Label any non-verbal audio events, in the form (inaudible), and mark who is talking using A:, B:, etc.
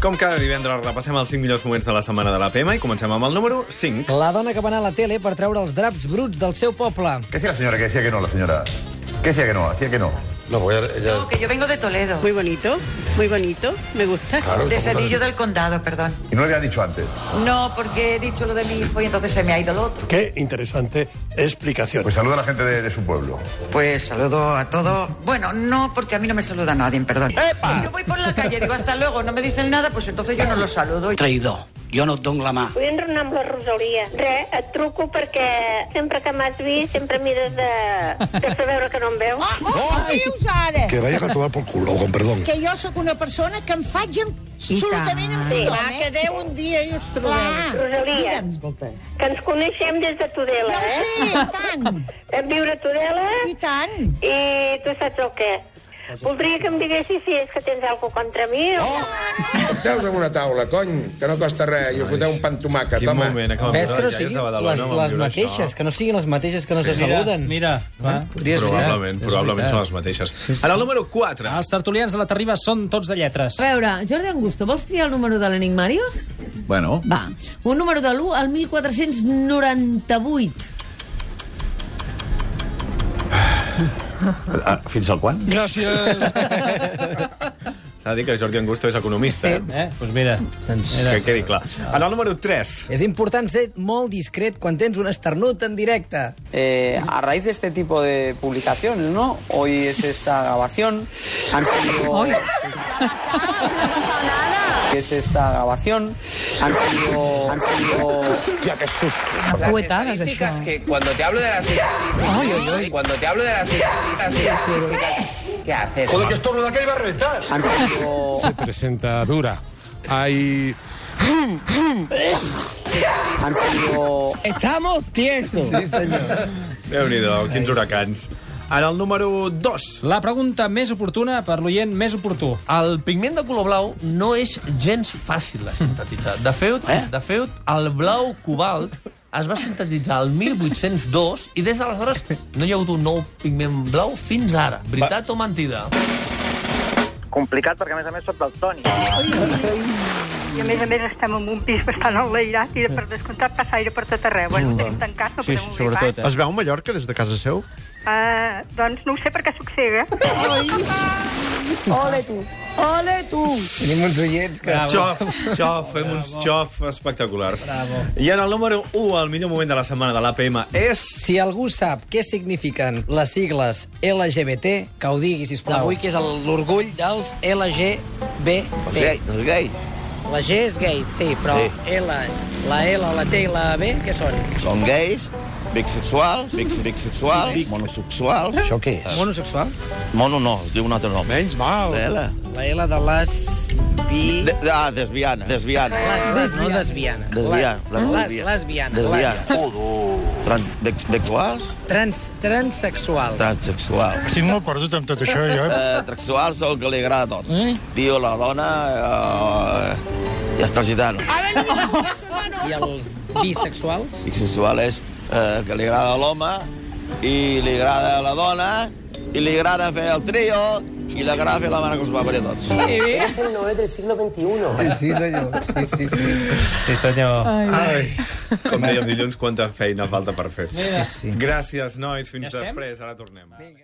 A: Com cada divendres repassem els 5 millors moments de la setmana de la PM i comencem amb el número 5.
B: La dona que va anar a la tele per treure els draps bruts del seu poble.
C: ¿Qué hacía la señora que decía que no, la señora? ¿Qué decía que no? Hacía que no.
D: No, porque ella- ella-
E: No, que yo vengo de Toledo,
F: Muy bonito, muy bonito, me gusta.
D: claro,
E: de
D: ¿cómo tal?
E: Cedillo del Condado, perdón.
C: Y no le había dicho antes.
E: No, porque he dicho lo de mi hijo y entonces se me ha ido lo otro.
G: Qué interesante explicación.
C: Pues saluda a la gente de, de su pueblo.
E: Pues saludo a todos. Bueno, no, porque a mí no me saluda nadie, perdón. Yo voy por la calle, digo hasta luego, no me dicen nada, pues entonces yo no los saludo.
H: traïdor. Jo no et dono la mà.
I: Vull enronar amb la Rosalia. Res, et truco perquè sempre que m'has vist sempre mires de, de fer veure que no em veus.
J: Oh, oh, dius ara?
G: Que vaya a tomar por culo, con perdón.
J: Que jo sóc una persona que em faig amb, absolutament amb
I: Sí.
J: tothom,
I: Clar,
J: eh? que Déu un dia i us trobeu.
I: Rosalia, que ens coneixem des de Tudela,
J: Ja ho
I: eh?
J: sé, i tant,
I: Vam viure a Tudela
J: i tant.
I: i tu saps el què. Voldria que em diguessis si és que tens alguna contra mi o...
J: Oh.
K: Teus amb una taula, cony, que no costa res, i us foteu un pan tomàquet,
A: Quin
K: home.
A: moment acabem
B: Ves que no
A: de- ja és
B: siguin
A: de Badalona,
B: les,
A: vam
B: les
A: viure
B: mateixes,
A: això.
B: que no siguin les mateixes que no sí, se saluden. Eh?
H: Mira, va.
B: Podria ser.
A: Probablement, probablement són les mateixes. En el número 4.
B: Ah.
H: Els tertulians de la Terriba són tots de lletres.
F: veure, Jordi Angusto, vols triar el número de l'Enigmarius?
C: Bueno.
F: Va, un número de l'1 al 1498.
C: Ah, fins al quan?
A: (laughs) S'ha de dir que Jordi Angusto és economista. Sí.
H: Eh? Doncs mira,
B: Doncs
A: Que quedi clar. En el número 3.
B: és important ser molt discret quan tens un esternut en directe.
H: Eh, a raíz de este tipo de publicaciones, ¿no? Hoy es esta grabación. Han salido. es esta grabación. Han salido. Han salido.
F: Poetades, això.
H: que cuando te hablo de las cuando te hablo de las ¿qué haces?
C: Joder, que estornuda que iba a reventar.
H: Han salido.
D: Se presenta dura. Hay...
H: Han salido.
B: Sí, senyor.
A: Déu-n'hi-do, quins huracans. En el número 2.
H: La pregunta més oportuna per l'oient més oportú.
D: El pigment de color blau no és gens fàcil de sintetitzar. De fet, eh? de fet el blau cobalt es va sintetitzar el 1802 i des d'aleshores no hi ha hagut un nou pigment blau fins ara. Veritat o mentida?
H: Complicat perquè, a més a més, soc del Toni.
I: I a més a més estem en un pis bastant enlairat i per descomptat passa aire per tot arreu. Bueno, mm. tenim tancat, no sí, podem sobretot,
H: eh?
I: Es veu Mallorca des de casa seu? Uh, doncs no ho sé perquè soc cega.
B: Tenim uns oients que...
A: Xof, xof, fem uns xof espectaculars. Bravo. I en el número 1, el millor moment de la setmana de l'APM és...
B: Si algú sap què signifiquen les sigles LGBT, que ho digui, sisplau. Avui que és el- l'orgull dels LGBT.
D: No és gai.
B: La G és gay, sí, però sí. L, la L, la T i la B, què són?
D: Són gais, bisexuals, bis bisexuals, monosexuals... Això què
B: Ah.
D: és?
B: Monosexuals?
D: Mono no, es diu un altre nom. Menys mal. Vela.
B: La L de les... Bi...
D: De, ah, desviana, desviana.
B: Les, no desviana.
D: Desviar,
B: La-
D: la
B: Les,
D: lesbiana.
B: lesbiana.
D: Desviar.
B: les-
D: Tran dex- Dexuals?
B: Trans, transsexual.
D: Transsexuals.
G: Si molt perdut amb tot això, jo...
D: Eh, transsexuals són el que li agrada a tot. Mm? Tio, la dona... Eh, és transitano.
B: Ah. I els bisexuals?
D: Bisexual és eh, que li agrada a l'home i li agrada a la dona i li agrada fer el trio i li agrada fer la mare que els va parir a tots.
F: És el nou del siglo XXI.
B: Sí, senyor. Sí, sí, sí.
H: Sí, senyor.
A: Ai, com dèiem dilluns, quanta feina falta per fer.
H: Mira.
A: Gràcies, nois. Fins
H: Ja estem?
A: després. Ara tornem. Vinga.